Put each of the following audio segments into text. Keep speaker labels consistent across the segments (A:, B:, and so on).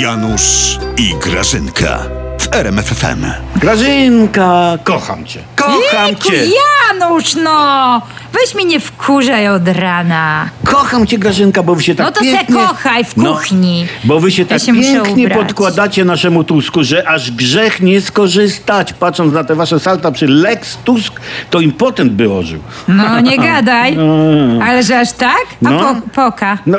A: Janusz i Grażynka w RMFFM.
B: Grażynka, kocham cię. Kocham
C: Jejku,
B: cię.
C: Janusz, no! Weź mnie nie wkurzaj od rana.
B: Kocham cię, Grażynka, bo wy się tak
C: No to se
B: pięknie...
C: kochaj w kuchni.
B: No, bo wy się
C: Ja
B: tak
C: się muszę
B: pięknie
C: ubrać.
B: podkładacie naszemu Tusku, że aż grzech nie skorzystać. Patrząc na te wasze salta przy Lex Tusk, to impotent by ożył.
C: No nie gadaj. Ale że aż tak? A
B: No.
C: po, poka.
B: No,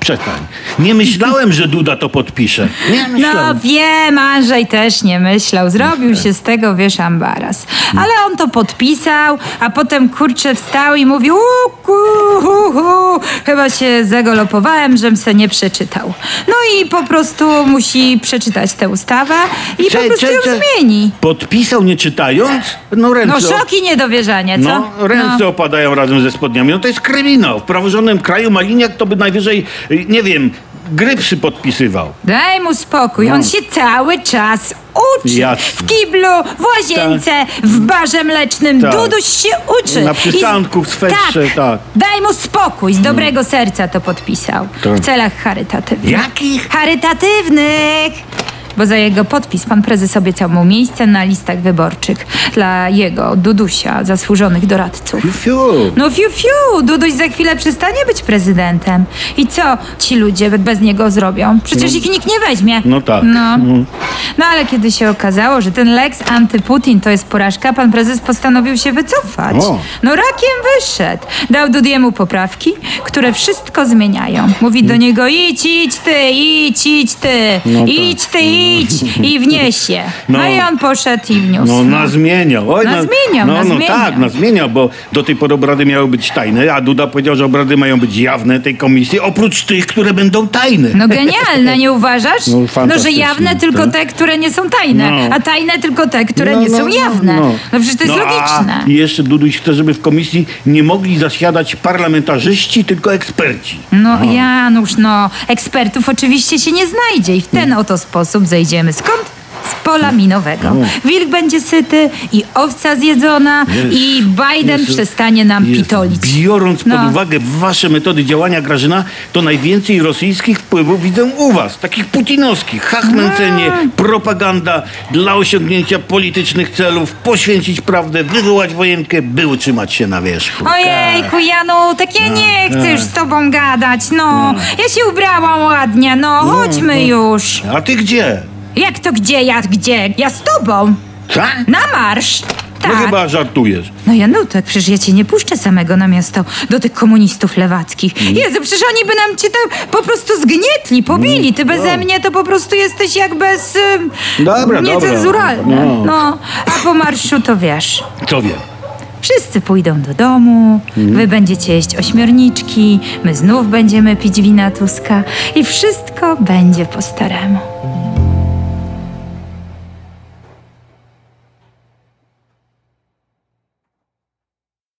B: przestań. Nie myślałem, że Duda to podpisze. Nie
C: No
B: myślałem.
C: wiem, Andrzej też nie myślał. Zrobił się z tego, wiesz, ambaras. Ale on to podpisał, a potem kurczę wstał i mówił uku, hu, hu. chyba się zagolopowałem, żem se nie przeczytał. No i po prostu musi przeczytać tę ustawę i po
B: Cze-
C: prostu
B: cze-
C: ją
B: cze-
C: zmieni.
B: Podpisał nie czytając? No ręce...
C: No
B: o-
C: szok i niedowierzanie, co?
B: No, ręce opadają razem ze spodniami. No to jest kryminał. W praworządnym kraju Maliniak to by najwyżej, y, nie wiem, grypsy podpisywał.
C: Daj mu spokój, on się cały czas
B: No.
C: uczy.
B: Jasne.
C: W kiblu, w łazience, w barze mlecznym.
B: Tak.
C: Duduś się uczy.
B: Na przystanku, w swetrze, tak. Mm.
C: Daj mu spokój, z dobrego serca to podpisał.
B: Tak.
C: W celach charytatywnych.
B: Jakich?
C: Charytatywnych! Bo za jego podpis pan prezes obiecał mu miejsce na listach wyborczych dla jego, Dudusia, zasłużonych doradców.
B: Fiu.
C: No fiu, fiu, Duduś za chwilę przestanie być prezydentem. I co ci ludzie bez niego zrobią? Przecież ich nikt nie weźmie.
B: No tak.
C: No. no ale kiedy się okazało, że ten Lex antyputin to jest porażka, pan prezes postanowił się wycofać.
B: O.
C: No rakiem wyszedł. Dał Dudiemu poprawki, które wszystko zmieniają. Mówi do niego idź, idź ty, idź, idź ty,
B: No tak.
C: idź ty, idź i wniesie. No.
B: No.
C: i on poszedł i wniósł.
B: No, nazmieniał. Oj, No,
C: Nazmieniał,
B: no
C: nazmieniał.
B: tak, nazmieniał, bo do tej pory obrady miały być tajne, a Duda powiedział, że obrady mają być jawne tej komisji, oprócz tych, które będą tajne.
C: No genialne, nie uważasz?
B: No,
C: No, że
B: fantastycznie,
C: jawne tylko
B: tak.
C: te, które nie są tajne,
B: No.
C: a tajne tylko te, które
B: No,
C: nie
B: no,
C: są
B: no,
C: jawne.
B: no.
C: No, przecież to jest
B: No,
C: logiczne.
B: A i jeszcze Duduś chce, żeby w komisji nie mogli zasiadać parlamentarzyści, tylko eksperci.
C: No Janusz, no ekspertów oczywiście się nie znajdzie i w ten oto sposób zejdziemy skąd? Z pola minowego.
B: No.
C: Wilk będzie syty i owca zjedzona i Biden
B: Jezu.
C: przestanie nam
B: Jezu.
C: pitolić.
B: Biorąc pod
C: No.
B: uwagę wasze metody działania, Grażyna, to najwięcej rosyjskich wpływów widzę u was. Takich putinowskich. Hachmęcenie,
C: No.
B: propaganda dla osiągnięcia politycznych celów, poświęcić prawdę, wywołać wojenkę, by utrzymać się na wierzchu.
C: Ojejku, Janu, tak
B: No,
C: ja nie chcę już z tobą gadać, no. Ja się ubrałam ładnie, no, chodźmy już.
B: A ty gdzie?
C: Jak to gdzie, ja gdzie? Ja z tobą.
B: Co?
C: Na marsz.
B: No
C: Tak.
B: Tak? chyba żartujesz.
C: No Janutek, przecież ja cię nie puszczę samego na miasto do tych komunistów lewackich.
B: Mm.
C: Jezu, przecież oni by nam cię tam po prostu zgnietli, pobili. Ty beze mnie to po prostu jesteś jak bez... ym,
B: Mm. No. Dobra,
C: niecenzuralny.
B: dobra, no.
C: No. a po marszu to wiesz...
B: Co wiem?
C: Wszyscy pójdą do domu,
B: Mm.
C: wy będziecie jeść ośmiorniczki, my znów będziemy pić wina Tuska i wszystko będzie po staremu.